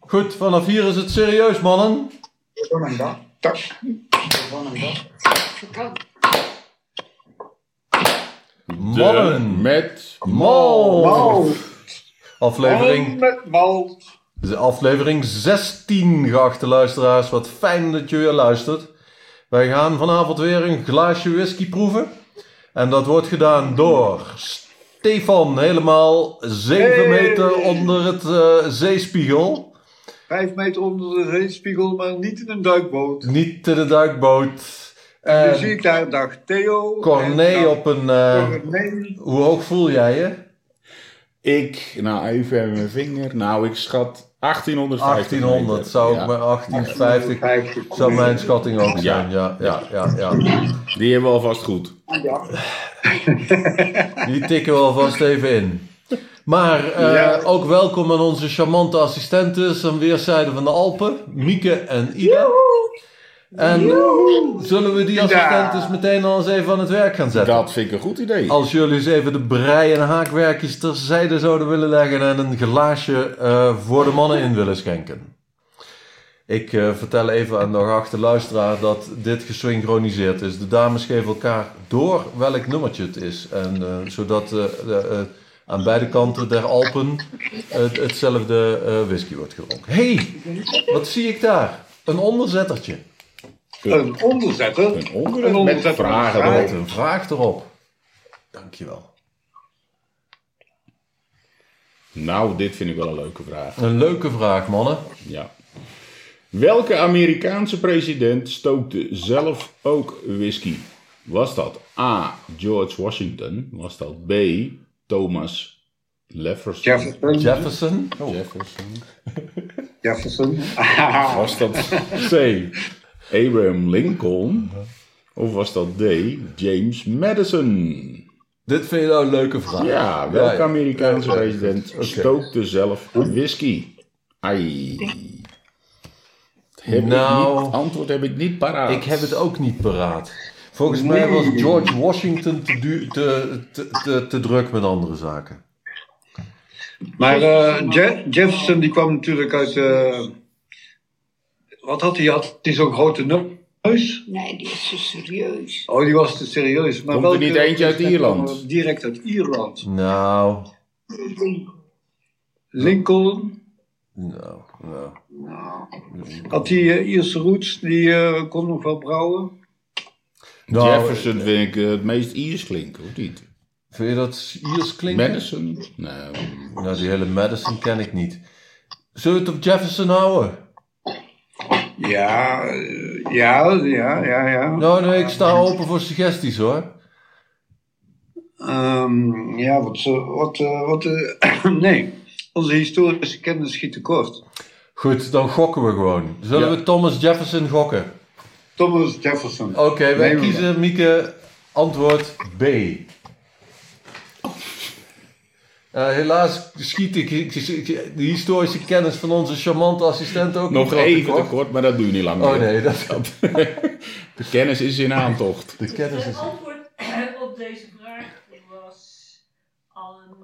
Goed, vanaf hier is het serieus, mannen. Gewoon een dag. Tak. Gewoon een dag. De Mannen. Met Mal. Wow. Mannen Aflevering, Met mal. aflevering 16, geachte luisteraars. Wat fijn dat je weer luistert. Wij gaan vanavond weer een glaasje whisky proeven. En dat wordt gedaan door Stefan, helemaal 7 Hey. meter onder het eh, zeespiegel. Vijf meter onder de zeespiegel, maar niet in een duikboot. Niet in de duikboot. Dan En zie ik daar dag Theo. en Eh, Corné dag op een... eh, Corné. hoe hoog voel jij je? Ik, nou even hebben mijn vinger. Nou, ik schat 1850. 1800 meter. zou ik Ja. maar 1850 zou mijn schatting ook zijn. Ja, ja, ja, ja. Die hebben we alvast goed. Die tikken we alvast even in. Maar eh, Ja. ook welkom aan onze charmante assistentes aan weerszijden van de Alpen, Mieke en Ida. En zullen we die assistentes meteen al eens even aan het werk gaan zetten? Dat vind ik een goed idee. Als jullie eens even de brei- en haakwerkjes terzijde zouden willen leggen en een glaasje eh, voor de mannen in willen schenken. Ik eh, vertel even aan de geachte luisteraar dat dit gesynchroniseerd is. De dames geven elkaar door welk nummertje het is. En, eh, zodat eh, de, eh, aan beide kanten der Alpen het- hetzelfde eh, whisky wordt gedronken. Hé, hey, wat zie ik daar? Een onderzettertje. Een onderzetter. Ah, Een onder- met vragen met Met een vraag erop. Dankjewel. Nou, dit vind ik wel een leuke vraag. Een leuke vraag, mannen. Ja. Welke Amerikaanse president stookte zelf ook whisky? Was dat A. George Washington? Was dat B. Thomas Jefferson? Jefferson. Jefferson. Jefferson. Jefferson. Was dat C. Abraham Lincoln? Of was dat D. James Madison? Dit vind je nou een leuke vraag. Ja, welke ja. Amerikaanse Ja, ja. president stookte zelf whisky? Ai. Heb ik Nou. niet- antwoord heb ik niet paraat. Ik heb het ook niet paraat. Volgens mij was George Washington te, du- te, te, te, te druk met andere zaken. Maar eh, Je- Jefferson die kwam natuurlijk uit. eh, wat had hij? Had hij zo'n grote neus? Nee, die is zo serieus. Oh, die was te serieus. Maar Komt er welke- niet eentje uit Ierland? eh, Direct uit Ierland. Nou, Lincoln nou, nou. had die eh, Ierse roots, die eh, kon nog wel brouwen. Nou, Jefferson vind ik eh, het meest Iers klinken, of niet? Vind je dat Iers klinken? Madison? Nou, Nou, die hele Madison ken ik niet. Zullen we het op Jefferson houden? Ja, eh, ja, ja, ja, ja. Nou, nee, ik sta open voor suggesties hoor. Ehm, ja, wat, eh, wat, eh, wat eh, nee. Onze historische kennis schiet tekort. Goed, dan gokken we gewoon. Zullen Ja. we Thomas Jefferson gokken? Thomas Jefferson. Oké, wij Neem hem. kiezen, Mieke, antwoord B. Eh, helaas schiet ik, ik- ik- de historische kennis van onze charmante assistent ook nog niet wat even tekort. te kort, maar dat doe je niet lang Oh meer. nee, dat, De kennis is in aantocht. de kennis Het is... antwoord op deze vraag was al een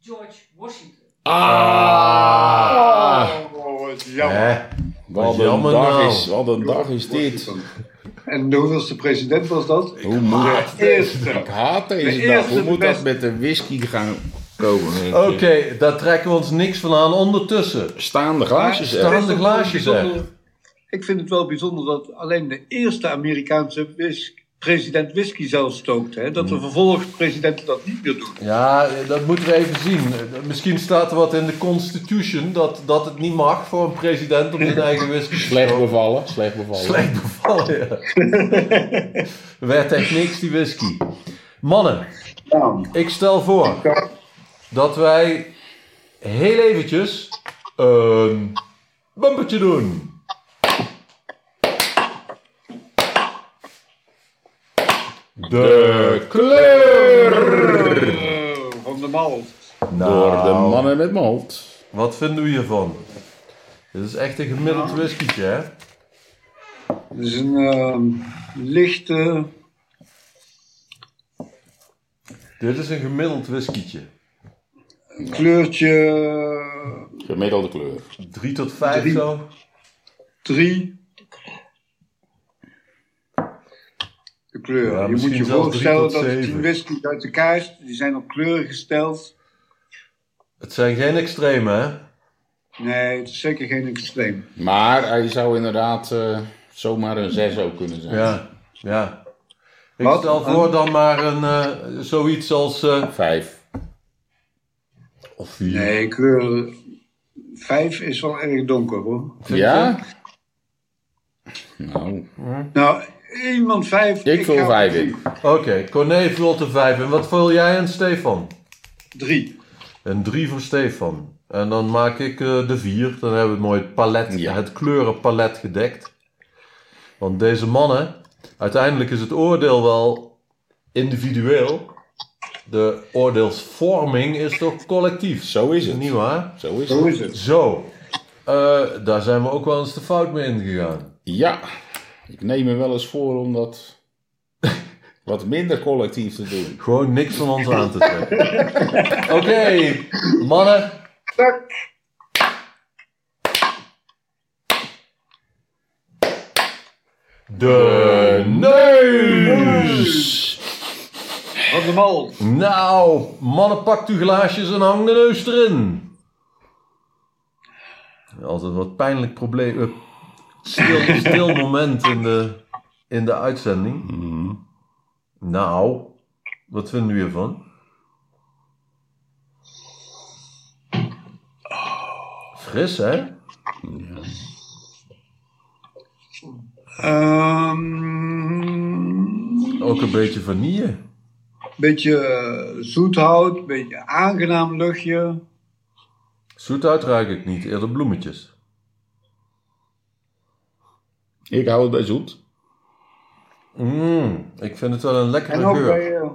George Washington. Ah! Oh, wat Hè? Wat een, Jammer dag nou. is, wat een dag is dit. En de hoeveelste president was dat? Hoe moet De Ik eerste. haat deze De dag. eerste, Hoe de moet dat beste. met de whisky gaan komen? Oké, daar trekken we ons niks van aan ondertussen. Staande glaasjes Staan- echt. Staande glaasjes, hè? Ik vind het wel bijzonder dat alleen de eerste Amerikaanse whis- president whisky zelf stookt. Hè? Dat de Mm. vervolgens presidenten dat niet meer doen. Ja, dat moeten we even zien. Misschien staat er wat in de Constitution dat, dat het niet mag voor een president om zijn eigen whisky te Slecht kopen. bevallen, slecht bevallen. Slecht bevallen, ja. Werd echt niks, die whisky. Mannen, Nou, ik stel voor dat wij heel eventjes een bumpertje doen. De kleur! eh, van de mal. Nou, Door de mannen met malt. Wat vinden we hiervan? Dit is echt een gemiddeld whiskytje, hè? Het is een ehm, lichte. Dit is een gemiddeld whiskytje. kleurtje Gemiddelde kleur. 3 tot 5 Drie. zo. 3. De kleur. Ja, je moet misschien je zelfs voorstellen drie tot dat de zeven. 10 whiskies uit de kaart, die zijn op kleuren gesteld. Het zijn geen extreme, hè? Nee, het is zeker geen extreem. Maar hij zou inderdaad eh, zomaar een 6 ook kunnen zijn. Ja, ja. Ik Wat? stel voor dan maar een, eh, zoiets als... eh, 5. of 4. Nee, kleur 5 is wel erg donker hoor. Ja? Nou, Nou, iemand 5. ik vul 5 in. Oké, Corné vult een 5. En wat vul jij en Stefan? 3. Een 3 voor Stefan. En dan maak ik eh, de 4. Dan hebben we het mooi palet, Ja. het kleurenpalet gedekt. Want deze mannen, uiteindelijk is het oordeel wel individueel. De oordeelsvorming is toch collectief. Zo is het. Niet waar? Zo is Zo het. is het. Zo, eh, daar zijn we ook wel eens de fout mee ingegaan. Ja, ik neem me wel eens voor om dat wat minder collectief te doen. Gewoon niks van ons aan te trekken. Oké, mannen. Tak. De neus! Van de mal. Nou, mannen, pakt uw glaasjes en hang de neus erin. Altijd wat pijnlijk probleem. eh, Stil, stil moment in de, in de uitzending. Mhm. Nou, wat vinden we hiervan? Fris, hè? Ehm Ook een beetje vanille. beetje eh, zoethout, beetje aangenaam luchtje. Zoethout ruik ik niet, eerder bloemetjes. Ik hou het bij zoet. Mm, ik vind het wel een lekkere En ook geur. bij, eh,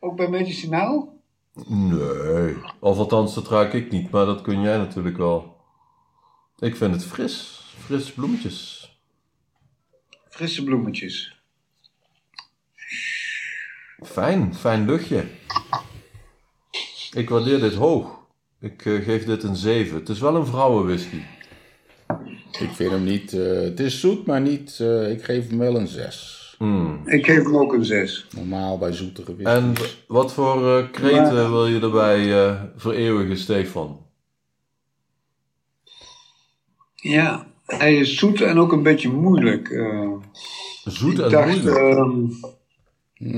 ook bij medicinaal? Nee. Of althans, dat ruik ik niet, maar dat kun jij natuurlijk wel. Ik vind het fris. Frisse bloemetjes. Frisse bloemetjes. Fijn, fijn luchtje. Ik waardeer dit hoog. Ik eh, geef dit een 7. Het is wel een vrouwenwhisky. Ik vind hem niet... eh, het is zoet, maar niet... eh, ik geef hem wel een 6. Mm. Ik geef hem ook een 6. Normaal bij zoetige whiskies. En w- wat voor eh, kreten wil je erbij eh, vereeuwigen, Stefan? Ja, hij is zoet en ook een beetje moeilijk. eh. Zoet ik en dacht, moeilijk. ehm,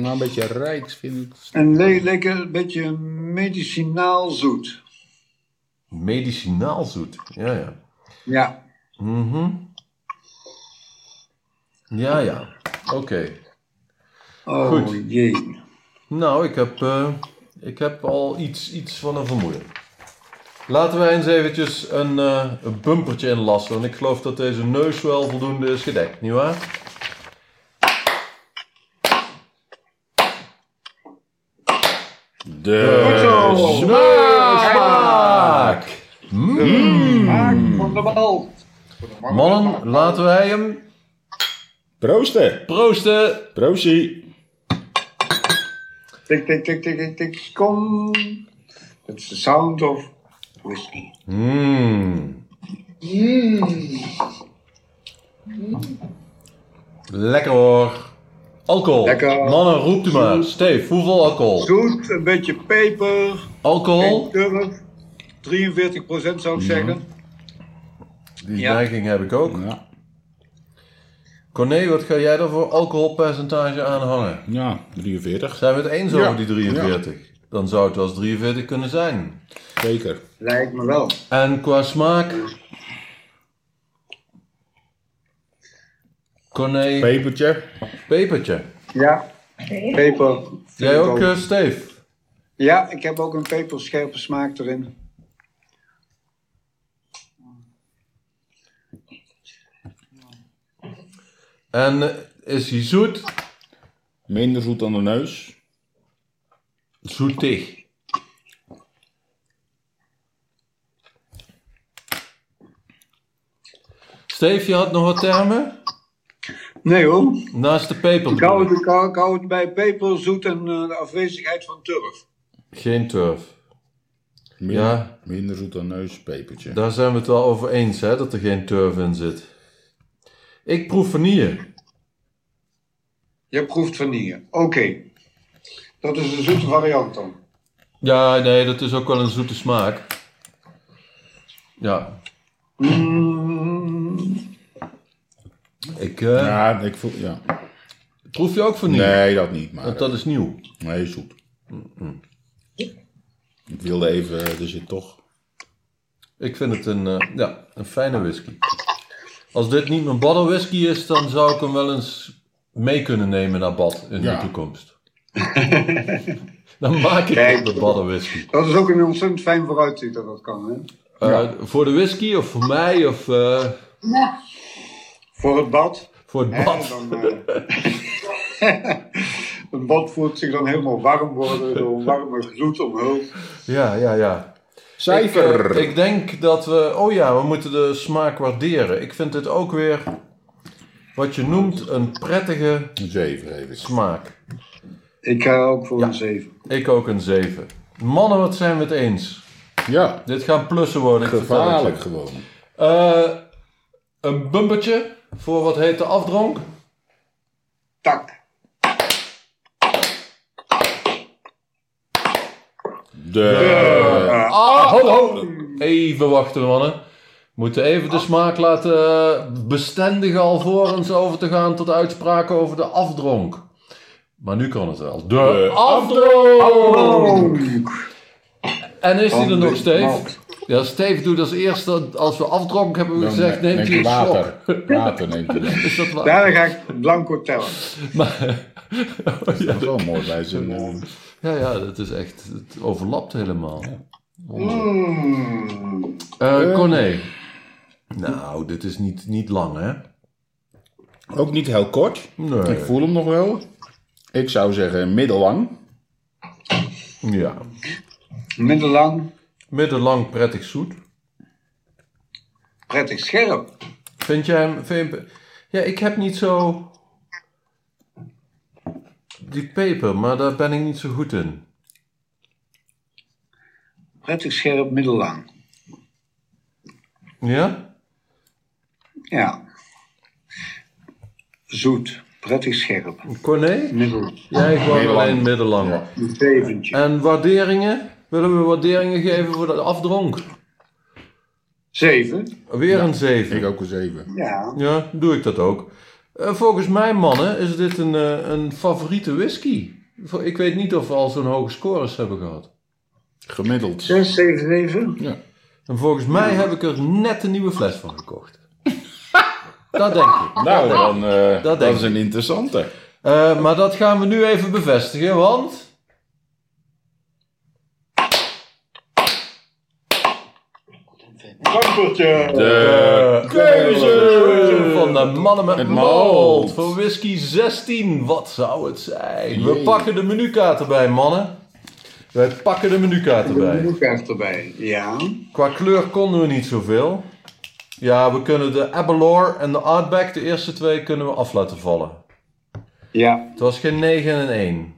Nou, een beetje rijks vind ik. en le- lekker een beetje medicinaal zoet. Medicinaal zoet. Ja, ja. Ja, Mhm. Ja, ja. Oké. oh Goed. jee. Nou, ik heb, eh, ik heb al iets, iets van een vermoeden. Laten wij eens eventjes een, eh, een bumpertje inlassen. Want ik geloof dat deze neus wel voldoende is gedekt, nietwaar? Oh. De... Smaak! Mm. Maak van de Hmm. bal. Mannen, laten wij hem Proosten. proosten. Proostie. Tik, tik, tik, tik, tik, tik, kom. Dat is de sound of whisky. Mm. Lekker hoor. Alcohol. Lekker. Mannen, roept u maar. Steve, hoeveel alcohol? Zoet, een beetje peper, Alcohol? geen turf. 43 zou ik zeggen. Die Ja. neiging heb ik ook. Ja. Corné, wat ga jij daar voor alcoholpercentage aan hangen? ja, 43. Zijn we het eens Ja. over die 43? Dan zou het wel eens 43 kunnen zijn. Zeker. Lijkt me wel. En qua smaak? Corné, Pepertje. pepertje. Ja, peper. Jij ook, eh, Steve? Ja, ik heb ook een peperscherpe smaak erin. En eh, is hij zoet? Minder zoet dan de neus. Zoetig. Steve, je had nog wat termen? Nee hoor, Naast de peper. ik bedoel ik. hou, ik hou- ik hou het bij peper, zoet en eh, de afwezigheid van turf. Geen turf. Minder, Ja. minder zoet dan neus, pepertje. Daar zijn we het wel over eens, hè, dat er geen turf in zit. Ik proef vanille. Je proeft vanille. Oké. Dat is een zoete variant dan. Ja, nee, dat is ook wel een zoete smaak. Ja, Mm, ik eh, Ja, ik voel, ja. proef je ook vanille. Nee, dat niet, maar Want dat is nieuw. nee, zoet. Ik wilde even, eh, er zit toch... Ik vind het een, eh, ja, een fijne whisky. Als dit niet mijn bottle whisky is, dan zou ik hem wel eens mee kunnen nemen naar bad in Ja. de toekomst. dan maak ik Kijk. het de bottle whisky. dat is ook een ontzettend fijn vooruitzicht dat dat kan. Hè? Eh, Voor de whisky of voor mij of eh, Voor het bad. voor het Hè? bad. Dan, eh, het bad voelt zich dan helemaal warm worden door een warme gloed omhuld. Ja, ja, ja. Cijfer! Ik, eh, ik denk dat we. Oh ja, we moeten de smaak waarderen. Ik vind dit ook weer. Wat je noemt een prettige Een zeven geef ik. smaak. Ik ga ook voor Ja. een 7. Ik ook een 7. Mannen, wat zijn we het eens? Ja, Dit gaan plussen worden. ik vertel het je. gevaarlijk gewoon. Eh, een bumpertje voor wat heet de afdronk. Tak. De... Ah, ho, ho. Even wachten, mannen. We moeten even de smaak laten eh, bestendigen alvorens over te gaan tot uitspraken over de afdronk. Maar nu kan het wel. De, De afdronk! Oh. En is die er Van nog, de Steve? malt. Ja, Steve doet als eerste, als we afdronk hebben we Dan gezegd, neemt hij een slok. water. Water neemt hij dan. Is dat waar? Daar ga ik blanco tellen. Maar- Oh, ja. Dat is wel mooi bij zijn... eh, ja, ja, dat is echt, het overlapt helemaal. Mm. Eh Eh. Corné. Nou, dit is niet, niet lang, hè? Ook niet heel kort. Nee. Ik voel hem nog wel. Ik zou zeggen middellang. Ja. Middellang, Middellang prettig zoet. prettig scherp. Vind jij hem... Vind je hem- ja, ik heb niet zo... Die peper, maar daar ben ik niet zo goed in. Prettig scherp, middellang. Ja? Ja. Zoet, prettig scherp. Corné? Middel. Jij gewoon Middellang. alleen middellang. Een zeventje. En waarderingen? Willen we waarderingen geven voor de afdronk? Zeven? Weer een 7. Ik ook een zeven. Ja. Ja, doe ik dat ook. Eh, volgens mij, mannen, is dit een, eh, een favoriete whisky. Vo- Ik weet niet of we al zo'n hoge scores hebben gehad. Gemiddeld. Zes, zeven, zeven? Ja. En volgens mij heb ik er net een nieuwe fles van gekocht. dat denk ik. Nou, dan, eh, dat, denk is een interessante. Eh, maar dat gaan we nu even bevestigen, want... Bumpertje. Eh, De keuze eh, van de mannen met Met malt malt. voor whisky 16. Wat zou het zijn? We Jee. pakken de menukaart erbij, mannen. Wij pakken de menukaart De erbij. boekkaart erbij. Ja. Qua kleur konden we niet zoveel. Ja, we kunnen de Abalor en de Artback, de eerste twee, kunnen we af laten vallen. Ja. Het was geen 9 en 1.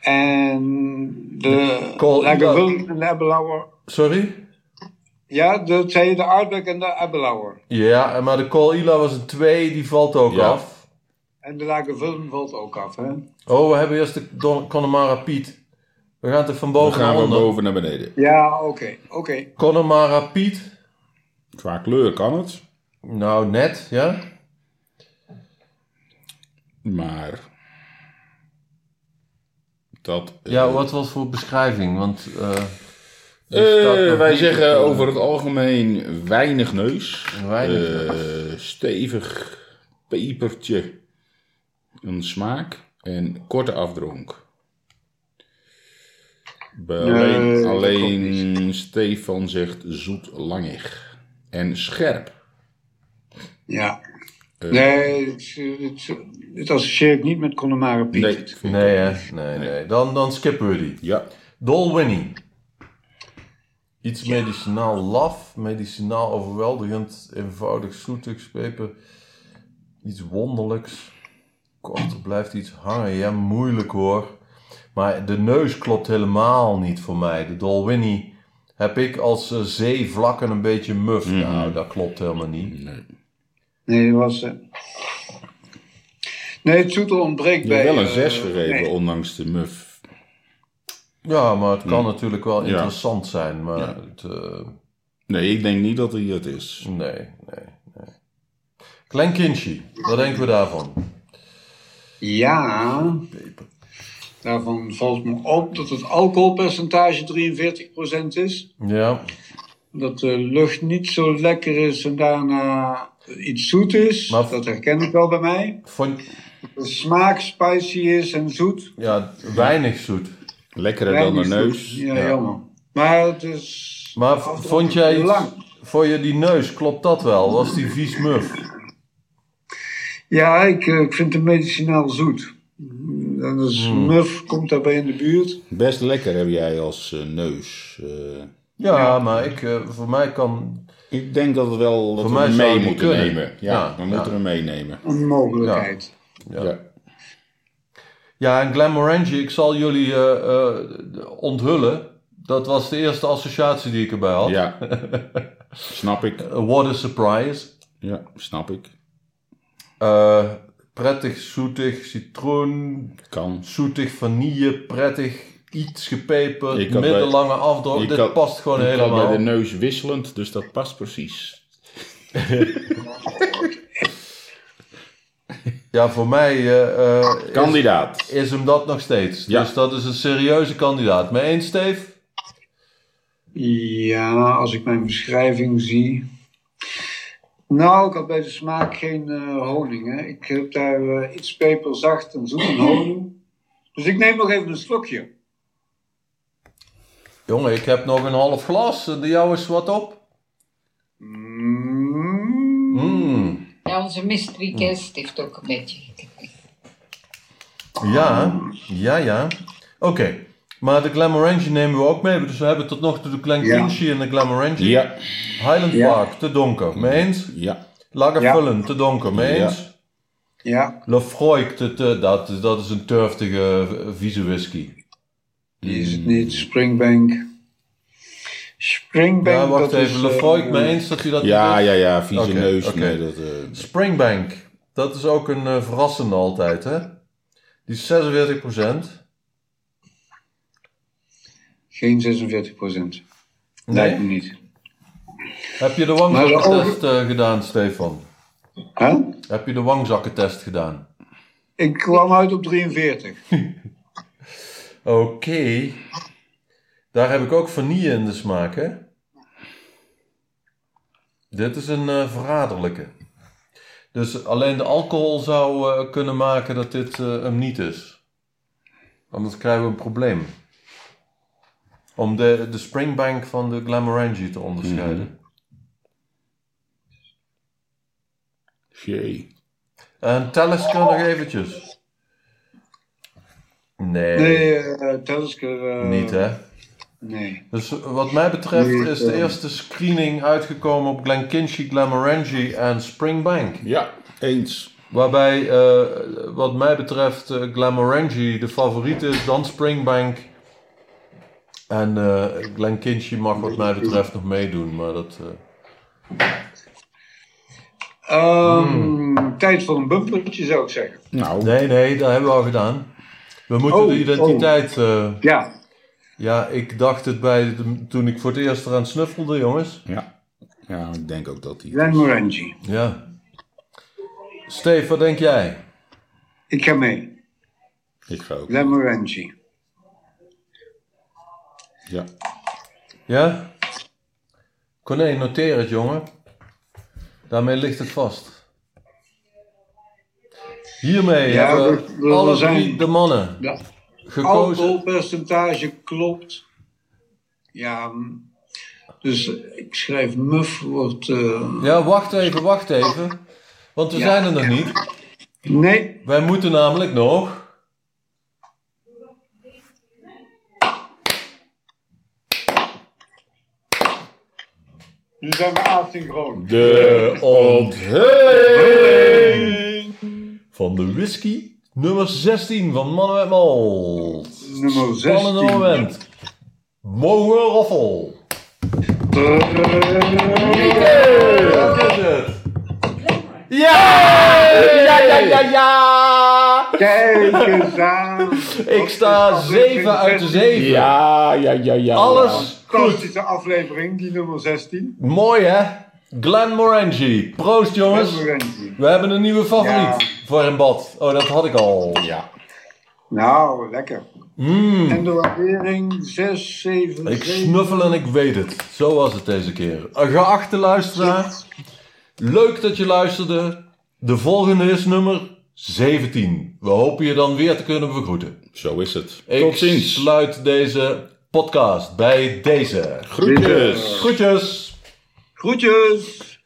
En de Col- Lagervulling en de Abbelauer. Sorry? Ja, dat zei je de Aardbeck en de Abbelauer. Ja, maar de Col Ila was een 2, die valt ook Ja. af. En de Lagervulling valt ook af, hè? Oh, we hebben eerst de Don- Connemara Piet. We gaan het van Dan boven gaan naar we onder. boven naar beneden. Ja, oké. Oké. Connemara Piet. Qua kleur kan het. Nou, net, ja. Eh. Maar... Dat... eh, Ja, wat was voor beschrijving? Want eh, eh, die staat nog wij niet zeggen op, eh, over het algemeen weinig neus. Weinig Eh, stevig pepertje. Een smaak. En korte afdronk. Bij Nee, dat alleen klopt alleen Stefan zegt zoet langig. En scherp. Ja. Eh. nee, het, het, het associeer ik niet met Connemara Piet. Nee, vind ik Nee, hè? Nee, nee. Dan, dan skippen we die. Ja. Dol Winnie. Iets medicinaal laf, medicinaal overweldigend, eenvoudig zoetigs, peper. Iets wonderlijks. Kort blijft iets hangen. Ja, moeilijk hoor. Maar de neus klopt helemaal niet voor mij. De Dolwinnie heb ik als eh, zeevlak en een beetje muf. Mhm. Nou, dat klopt helemaal niet. Nee. Nee, dat was. eh, Nee, het zoete ontbreekt Je bij. hebt wel een eh, 6 gegeven, nee. ondanks de muf. Ja, maar het kan natuurlijk wel Mhm. Ja. interessant zijn. Maar Ja. het, eh, Nee, ik denk niet dat hij dat is. nee, nee, nee. Klein kindje, wat denken we daarvan? Ja. Daarvan valt me op dat het alcoholpercentage 43% is. Ja, Dat de lucht niet zo lekker is en daarna iets zoet is. Maar- Dat herken ik wel bij mij. vond, De smaak spicy is en zoet. ja weinig zoet. Lekkerder dan de Weinig zoet. neus. Ja, Ja. jammer. Maar het is... Maar v- afdronken vond jij iets, lang. voor je die neus, klopt dat wel? Was die vies muf? Ja, ik, eh, ik vind het medicinaal zoet. En dus Hmm. muf komt daarbij in de buurt. Best lekker heb jij als eh, neus. Eh, Ja, Ja. maar ik, eh, voor mij kan ik denk dat we wel dat Voor we mij hem zou mee die moeten kunnen. nemen. Ja, Ja, we ja. moeten hem meenemen. Een mogelijkheid. Ja. Ja. Ja, en Glamorangie, ik zal jullie eh, eh, onthullen. Dat was de eerste associatie die ik erbij had. Ja. snap ik. Eh, what a surprise. Ja, snap ik. Eh, prettig, zoetig, citroen, Kan. zoetig, vanille, prettig, iets gepeperd, Ik had bij- middellange afdruk. ik Dit had- past gewoon Ik had helemaal. bij de neus wisselend, dus dat past precies. Ja, voor mij eh, eh, is, Kandidaat. is hem dat nog steeds. Ja. Dus dat is een serieuze kandidaat. Mee eens, Steve? Ja, als ik mijn beschrijving zie. Nou, ik had bij de smaak geen eh, honing. Hè. Ik heb daar eh, iets peperzacht en zoet en honing. Dus ik neem nog even een slokje. Jongen, ik heb nog een half glas. De jouw is wat op. Mm. Mm. Ja, onze mystery guest heeft ook een beetje gekregen. Ja, ja, ja. Oké, maar de Glamorangie nemen we ook mee. Dus we hebben tot nog toe de Glen Ja. Quincy en de Glamorangie. Ja. Highland Ja. Park, te donker. Mee eens? Ja. Lagerfullen, te donker. Mee Ja. eens? Ja, Lefroy, te, te, dat, dat is een turftige, eh, vieze whisky. die is het niet. Springbank. Springbank. Ja, Nou, wacht dat even. is, Lefroy, eh, mee eens dat hij dat niet Ja, is? ja, ja. Vieze Oké, neus. oké. Nee, dat, eh, Springbank, dat is ook een eh, verrassende altijd, hè? Die is 46 Geen 46 Lijkt me niet. Heb je de Maar de wangzakkentest eh, gedaan, Stefan? Huh? Heb je de wangzakkentest gedaan? Ik kwam uit op 43. Oké. Daar heb ik ook vanille in de smaak, hè? Dit is een eh, verraderlijke. Dus alleen de alcohol zou eh, kunnen maken dat dit eh, hem niet is. Anders krijgen we een probleem. Om de, de springbank van de Glamorangie te onderscheiden. jee. En Talisker nog eventjes. Nee, Nee, eh Telsker. eh, niet hè. Nee. Dus wat mij betreft Nee, is de eh, eerste screening uitgekomen op Glenkinchie, Glamorangie en Springbank. Ja, eens. Waarbij eh, wat mij betreft eh, Glamorangie de favoriet is, dan Springbank. En eh Glenkinchie mag wat mij betreft nog meedoen, maar dat... eh, Ehm, Hmm. Tijd voor een bumpertje zou ik zeggen. Nou, Nee, nee, dat hebben we al gedaan. We moeten Oh, de identiteit... eh, Ja, ja, ik dacht het bij de- toen ik voor het eerst eraan snuffelde, jongens. ja. Ja, ik denk ook dat hij... Glen Morangi. Ja. Steve, wat denk jij? Ik ga mee. Ik ga ook. Glen Morangi. Ja. Ja? Corné, noteer het, jongen. Daarmee ligt het vast. Hiermee Ja, hebben we- we alle zijn- drie de mannen Ja. gekozen. Alcoholpercentage klopt. Ja, mm, dus ik schrijf muf wordt. eh, Ja, wacht even, wacht even. Want we Ja. zijn er nog niet. Nee, Wij moeten namelijk nog... nu zijn we asynchroon. De onthulling. Van de whisky nummer 16 van Mannen met Malt. nummer 16. Spannende moment. Mogen roffel. Dat is het. Ja! Ja, ja, ja, ja! Kijk eens aan. Ik sta 7 uit de 7. Ja, ja, ja, ja. Alles goed. Fantastische aflevering, die nummer 16. Mooi hè? Glenn Morangi. Proost jongens. Referentie. We hebben een nieuwe favoriet Ja. voor in bad. Oh, dat had ik al. Ja. Nou, lekker. Mm. En de waardering 6, 7, Ik 7. snuffel en ik weet het. Zo was het deze keer. Geachte luisteraar, leuk dat je luisterde. De volgende is nummer 17. We hopen je dan weer te kunnen begroeten. Zo is het. Ik Tot ziens. sluit deze podcast bij deze. Groetjes. Groetjes! Groetjes.